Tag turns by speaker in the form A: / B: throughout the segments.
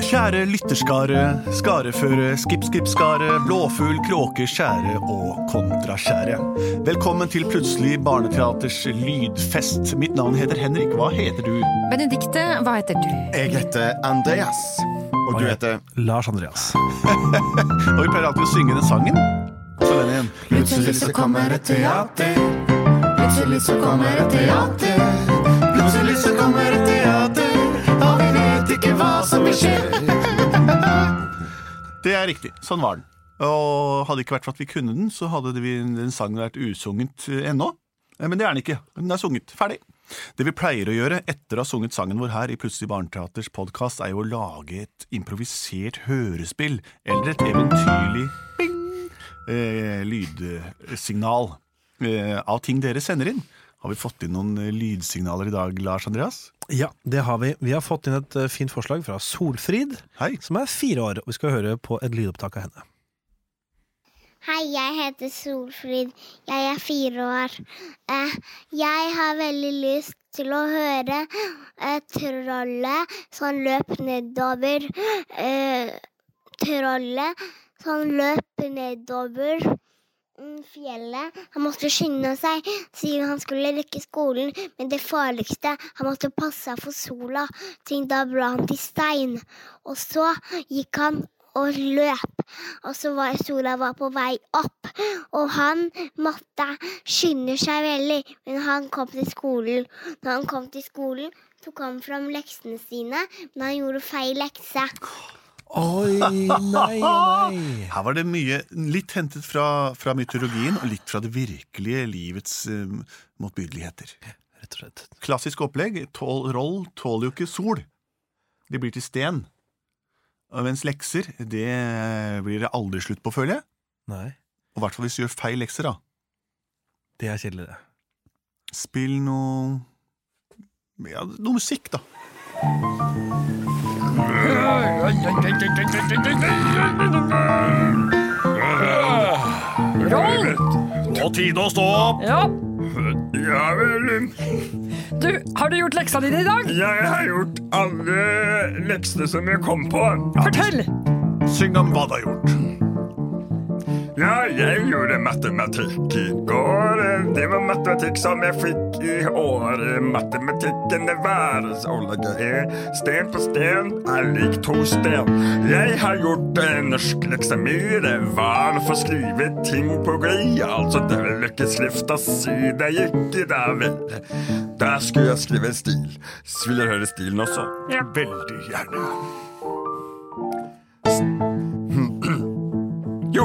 A: Kjære lytterskare, skareføre, skipp-skipp-skare, blåfugl, kråke, skjære og kontraskjære. Velkommen til Plutselig barneteaters lydfest. Mitt navn heter Henrik. Hva heter du?
B: Benedikte, hva heter du?
C: Jeg heter Andreas. Og du heter
D: Lars Andreas.
A: Og vi pleier alltid å synge den sangen. Så den igjen.
C: Plutselig så kommer et teater. Plutselig så kommer et teater. Plutselig så kommer et teater. Og vi vet ikke hva som vil skje.
A: Det er riktig. Sånn var den. Og hadde det ikke vært for at vi kunne den, så hadde det vi- den sangen vært usunget eh, ennå. Eh, Men det er den ikke. Den er sunget. Ferdig. Det vi pleier å gjøre etter å ha sunget sangen vår her i Plutselig barneteaters podkast, er jo å lage et improvisert hørespill eller et eventyrlig bing eh, lydsignal eh, av ting dere sender inn. Har vi fått inn noen eh, lydsignaler i dag, Lars Andreas?
D: Ja, det har vi. Vi har fått inn et eh, fint forslag fra Solfrid,
A: Hei.
D: som er fire år. og Vi skal høre på et lydopptak av henne.
E: Hei, jeg heter Solfrid. Jeg er fire år. Eh, jeg har veldig lyst til å høre eh, trollet som løp nedover. Eh, trollet som løp nedover mm, fjellet. Han måtte skynde seg siden han skulle rekke skolen. Men det farligste, han måtte passe seg for sola, siden da ble han til stein. Og så gikk han og løp. Og så var sola var på vei opp, og han måtte skynde seg veldig. Men han kom til skolen. Når han kom til skolen, tok han fram leksene sine, men han gjorde feil lekse.
D: Oi, nei, nei.
A: Her var det mye litt hentet fra, fra mytologien og litt fra det virkelige livets eh, motbydeligheter.
D: Rett og slett.
A: Klassisk opplegg. Tål, roll tåler jo ikke sol. De blir til sten. Og Mens lekser, det blir det aldri slutt på, føler jeg.
D: Nei,
A: Og i hvert fall hvis du gjør feil lekser, da.
D: det er kjedelig, det.
A: Spill noe ja, Noe musikk, da.
B: Roll!
F: På tide å stå opp!
B: Ja,
F: Ja vel.
B: du, har du gjort leksa dine i dag?
F: Jeg har gjort alle leksene som jeg kom på.
B: Fortell!
A: Syng om hva du har gjort.
F: Ja, jeg gjorde matematikk i går. Det var matematikk som jeg fikk i år. Matematikken det væres å legge i. Sten på sten er lik to sten. Jeg har gjort eh, norskleksa mi. Det var for å skrive ting på glid. Altså, det var løkkeskrifta si. Det gikk i dag vel. Der skulle jeg skrive en stil. Så Vil jeg høre stilen også? Ja, veldig gjerne. Jo,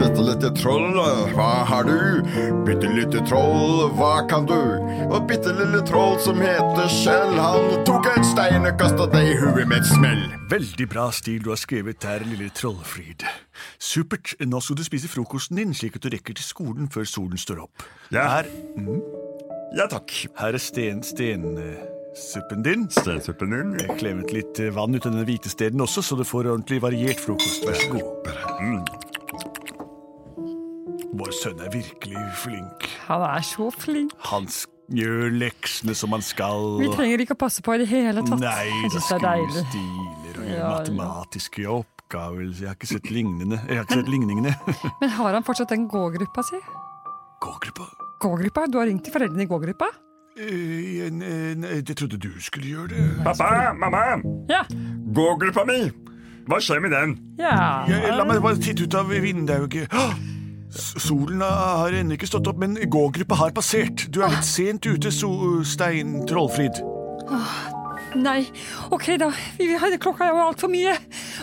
F: Bitte lite troll, hva har du? Bitte lite troll, hva kan du? Og bitte lille troll som heter Kjell, han tok en stein og kasta det i huet med et smell.
A: Veldig bra stil du har skrevet der, lille Trollfrid. Supert. Nå skal du spise frokosten din, slik at du rekker til skolen før solen står opp.
F: Ja.
A: Her,
F: Ja takk.
A: her er sten, stensuppen din.
F: Steinsuppen din.
A: Jeg har klemt litt eh, vann ut av den hvite steden også, så du får ordentlig variert frokost. Vær så god. Mm. Vår sønn er virkelig flink.
B: Han er så flink.
A: Han s- gjør leksene som han skal.
B: Vi
A: og-
B: trenger ikke å passe på i det hele tatt.
A: Nei,
B: jeg
A: det
B: synes det er
A: skriver
B: deilig.
A: stiler og gjør
B: Ja, ja.
A: matematiske oppgaver. Jeg har ikke sett lignende. Jeg har ikke sett ligningene.
B: Men har han fortsatt den gågruppa si?
A: Gågruppa?
B: Gågruppa? Du har ringt til foreldrene i gågruppa?
A: Eh, nei, nei, Jeg trodde du skulle gjøre det.
F: Pappa, mamma,
B: Ja.
F: gågruppa mi. Hva skjer med den?
B: Ja.
A: Jeg, la meg bare titte ut av vinduet. Åh! S- Solen har ennå ikke stått opp, men gågruppa har passert. Du er litt sent ute, so Stein Trollfrid.
B: Nei. Ok, da. Vi- vi har- Klokka er jo altfor mye.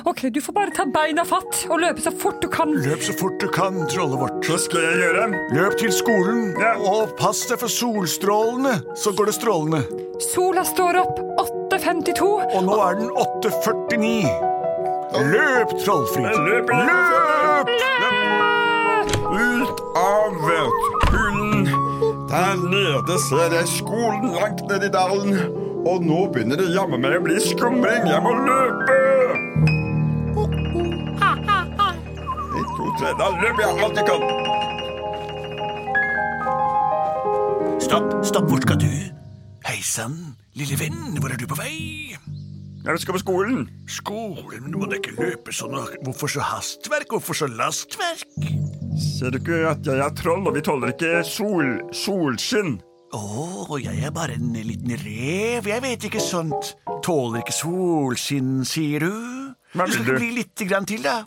B: Ok, Du får bare ta beina fatt og løpe så fort du kan.
A: Løp så fort du kan, trollet vårt.
F: Hva skal jeg gjøre?
A: Løp til skolen,
F: Ja.
A: og pass deg for solstrålene, så går det strålende.
B: Sola står opp 8.52.
A: Og nå er den 8.49. Løp, Trollfrid.
F: Løp! Løp! Ut av hulen. Der nede ser jeg skolen langt ned i dalen. Og nå begynner det jammen meg å bli skumring. Jeg må løpe! Kose, da løper jeg alt jeg kan.
A: Stopp, stopp, hvor skal du? Hei sann, lille venn, hvor er du på vei?
F: Jeg skal på skolen.
A: Skolen må da ikke løpe sånn. og Hvorfor så hastverk? Hvorfor så lastverk?
F: Ser du ikke at jeg er troll, og vi tåler ikke sol, solskinn?
A: Å, jeg er bare en liten rev. Jeg vet ikke sånt. Tåler ikke solskinn, sier du?
F: Hva
A: Du
F: vil
A: skal
F: du?
A: ikke bli lite grann til, da.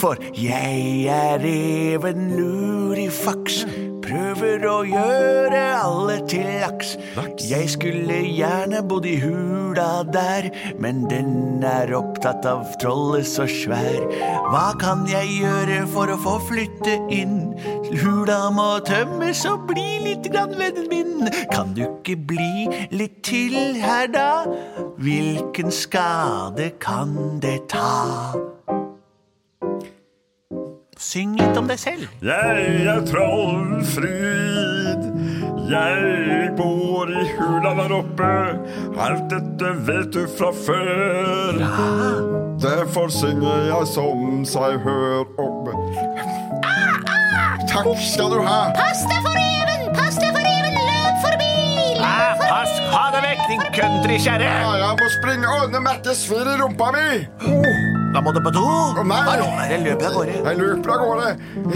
A: For jeg er reven lurifaks. Prøver å gjøre alle til laks. Jeg skulle gjerne bodd i hula der, men den er opptatt av trollet så svær. Hva kan jeg gjøre for å få flytte inn? Hula må tømmes og bli litt grann vennen min. Kan du ikke bli litt til her, da? Hvilken skade kan det ta? Syng litt om deg selv.
F: Jeg er Trollfrid. Jeg bor i hula der oppe. Alt dette vet du fra før.
A: Ah,
F: Derfor synger jeg som seg hør om. Takk skal du ha.
C: Pass deg for reven! Pass deg for reven! Løp forbi! Løp
A: Ah, pass, ha deg vekk, din countrykjerre!
C: Ja,
F: jeg må springe og ordne Mette svir i rumpa mi.
A: Da må du på do.
F: nei.
A: Hallo, jeg løper av gårde.
F: Jeg løper av gårde.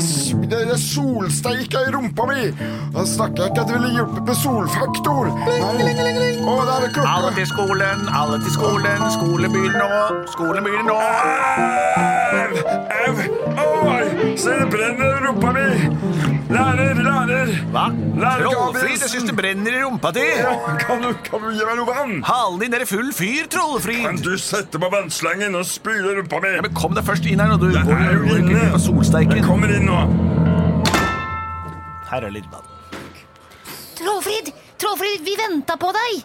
F: S- Dere solsteika i rumpa mi. Da snakker jeg ikke at det ville hjelpe med solfaktor. Nei. Å,
A: Alle
F: der er klokka.
A: til skolen, alle til skolen. Skolen begynner nå. Skolen begynner nå.
F: Au! Au! Oi! Se, det brenner i rumpa mi. Lærer, lærer.
A: Hva?
F: Lærer
A: Trollfri,
F: Gabrielsen.
A: jeg syns det brenner i rumpa di.
F: Ja, Kan du, kan du gi meg noe vann?
A: Halen din er i full fyr,
F: Kan
A: Trollfrid.
F: du sette på vannslangen og spyle rumpa mi?
A: Ja, men kom deg først inn her, når du går
F: er jo
A: går ikke
F: inne.
A: ut på
F: Jeg
A: solsteiken.
F: kommer inn nå.
A: Her er Lilleball.
C: Trollfrid! Trollfrid, vi venta på deg!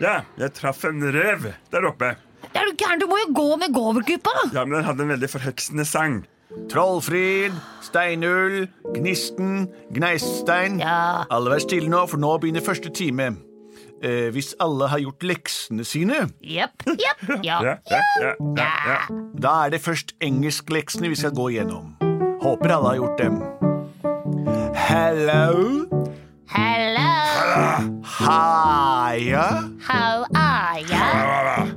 F: Ja, jeg traff en rev der oppe.
C: Er du gæren? Du må jo gå med Govergruppa!
F: Ja, men den hadde en veldig forheksende sang.
A: Trollfrid, Steinull, Gnisten, Gneisstein.
C: Ja.
A: Alle vær stille nå, for nå begynner første time. Eh, hvis alle har gjort leksene sine,
C: Jepp. Jepp. Ja.
F: Ja, ja, ja, ja, ja.
A: da er det først engelskleksene vi skal gå igjennom. Håper alle har gjort dem. Hello,
C: Hello,
A: hiya
C: how are ya?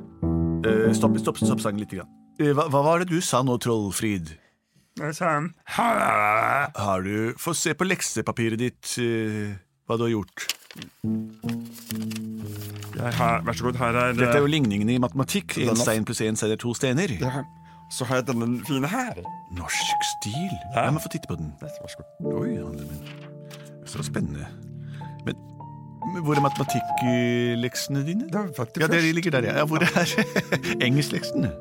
A: eh, Stopp, stopp, stopp sangen litt. Grann. Eh, hva, hva var det du sa nå, Trollfrid?
F: Jeg sa han. Ha-la-la-la.
A: Har du Få se på leksepapiret ditt, eh, hva du har gjort.
F: Jeg har, vær så god, her er
A: Dette er jo ligningene i matematikk. Én
F: Den er-
A: stein pluss én stein er to steiner.
F: Ja, Så har jeg denne fine her.
A: Norsk stil?
F: Hæ?
A: La meg få titte på den.
F: Vær så god.
A: Oi, ja, men Så spennende. Men, men hvor er matematikktleksene dine?
F: Det var faktisk
A: Ja, de
F: først.
A: ligger der, ja. ja hvor er engelskleksene?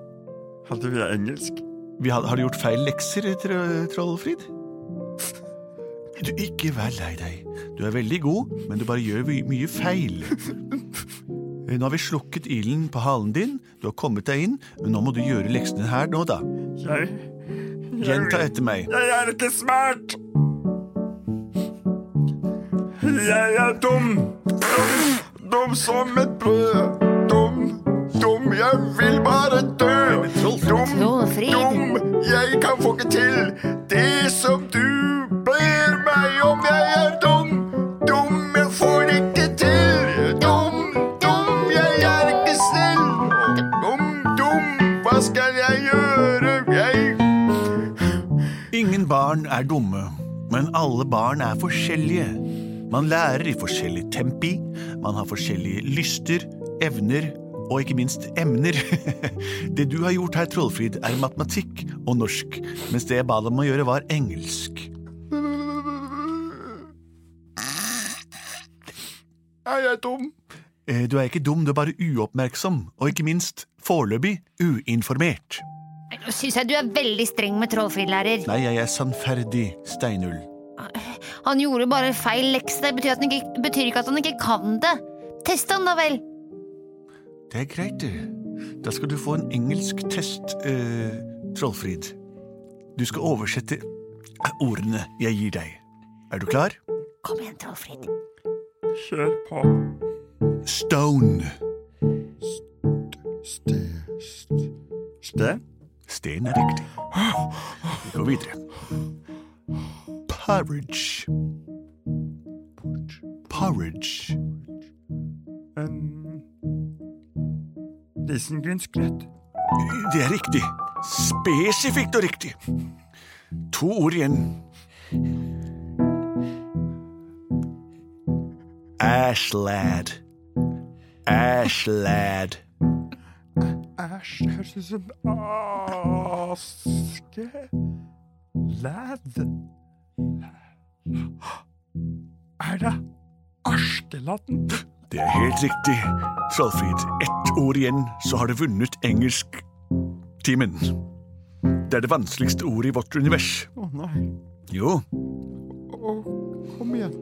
F: Hadde vi engelsk?
A: Vi har, har du gjort feil lekser, Tro- Trollfrid? Du, ikke vær lei deg. Du er veldig god, men du bare gjør my- mye feil. Eh, Nå har vi slukket ilden på halen din, du har kommet deg inn, men nå må du gjøre leksene her nå, da.
F: Jeg,
A: Gjenta etter meg.
F: jeg er ikke smart! Jeg er dum. Dum, dum som et brød. Dum, dum, jeg vil bare dø. Dum,
C: Trollfrid.
F: dum, jeg kan få ikke til det som du ber meg om. Jeg er dum, dum, jeg får det ikke til. Dum, dum, jeg er ikke snill. Dum, dum, hva skal jeg gjøre? Jeg
A: Ingen barn er dumme, men alle barn er forskjellige. Man lærer i forskjellig tempi, man har forskjellige lyster, evner og ikke minst emner. det du har gjort her, Trollfrid, er matematikk og norsk, mens det jeg ba deg om å gjøre, var engelsk.
F: Er jeg dum?
A: Eh, Du er ikke dum, du er bare uoppmerksom, og ikke minst foreløpig uinformert.
C: Nå syns jeg du er veldig streng med Trollfrid, lærer.
A: Nei, jeg er sannferdig, Steinull.
C: Han gjorde bare feil lekse. Det betyr, at han ikke, betyr ikke at han ikke kan det. Test han, da vel.
A: Det er greit, det. Da skal du få en engelsk test, eh, Trollfrid. Du skal oversette eh, ordene jeg gir deg. Er du klar?
C: Kom igjen, Trollfrid.
F: Kjør på.
A: Stone.
F: Ste, Sten?
A: Sten er riktig. Vi går videre. Porridge. Porridge.
F: Um, Risengrynsgrøt.
A: Det er riktig. Spesifikt og riktig. To ord igjen. Ashlad. Ashlad.
F: Æsj, høres ut som aske... Lad. Er det Askeladden?
A: Det er helt riktig. Trollfrid, ett ord igjen, så har du vunnet engelsktimen. Det er det vanskeligste ordet i vårt univers.
F: Å nei.
A: Jo,
F: Å, kom igjen.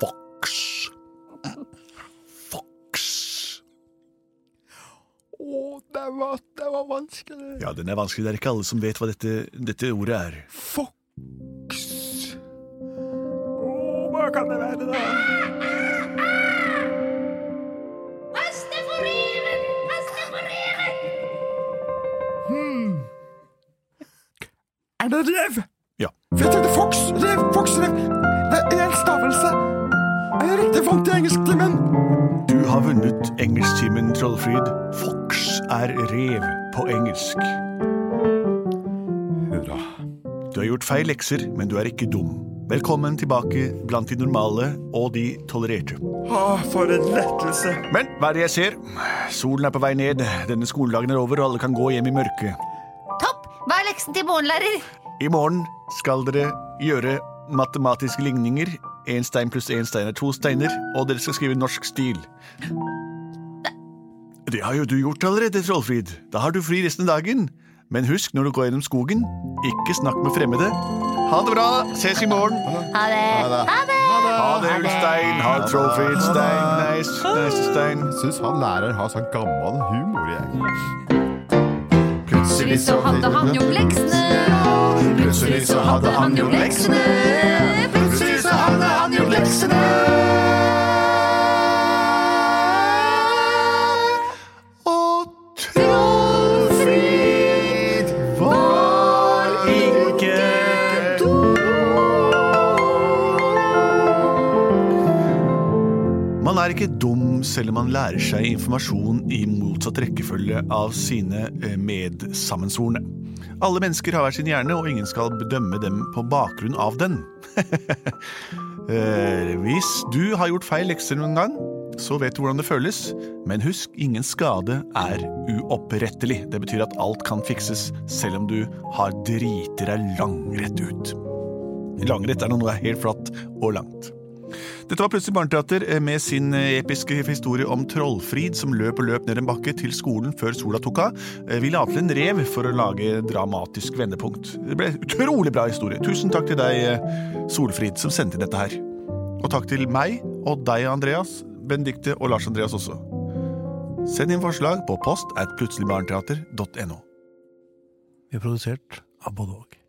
A: fox. Fox.
F: Å, det var, det var vanskelig.
A: Ja, den er vanskelig. Det er ikke alle som vet hva dette, dette ordet er.
F: Fox. Å, hva kan det være, da?
G: Haste for reven! Haste for reven!
F: Er det rev?
A: Ja.
F: Vet du det? Fox, rev, fox, rev. Det er én stavelse. Er jeg riktig vant i engelsktimen?
A: Du har vunnet engelsktimen, Trollfrid. Fox er rev på engelsk.
F: Hurra.
A: Du har gjort feil lekser, men du er ikke dum. Velkommen tilbake blant de normale og de tolererte.
F: Å, for en lettelse.
A: Men hva er det jeg ser? Solen er på vei ned, denne skoledagen er over, og alle kan gå hjem i mørket.
G: Topp! Hva er leksen til morgen, lærer?
A: I morgen skal dere gjøre matematiske ligninger. Én stein pluss én stein er to steiner, og dere skal skrive norsk stil. Det har jo du gjort allerede, Trollfrid. Da har du fri resten av dagen. Men husk når du går gjennom skogen, ikke snakk med fremmede. Ha det bra! Ses i morgen!
G: Ha det! Ha det!
A: Ha det, Ulstein! Ha det, Trollfrid. Stein, nice, nice, Stein.
H: Syns han lærer har sånn gammel humor, jeg.
G: Plutselig så hadde han gjort leksene. Plutselig så hadde han gjort leksene. Plutselig så hadde han gjort leksene.
A: Og Trollfrid var ikke dum. Man er ikke dum selv om man lærer seg informasjon i motsatt rekkefølge av sine eh, medsammensvorne. Alle mennesker har hver sin hjerne, og ingen skal bedømme dem på bakgrunn av den. Eh, hvis du har gjort feil lekser noen gang, så vet du hvordan det føles. Men husk, ingen skade er uopprettelig. Det betyr at alt kan fikses, selv om du har driti deg langrett ut. Langrett er når noe er helt flatt og langt. Dette var Plutselig barneteater eh, med sin eh, episke historie om Trollfrid som løp og løp ned en bakke til skolen før sola tok av. Eh, Vi la til en rev for å lage dramatisk vendepunkt. Det ble utrolig bra historie. Tusen takk til deg, eh, Solfrid, som sendte inn dette her. Og takk til meg og deg, Andreas, Benedicte og Lars Andreas også. Send inn forslag på post at plutseligbarneteater.no.
D: Vi er produsert av både og.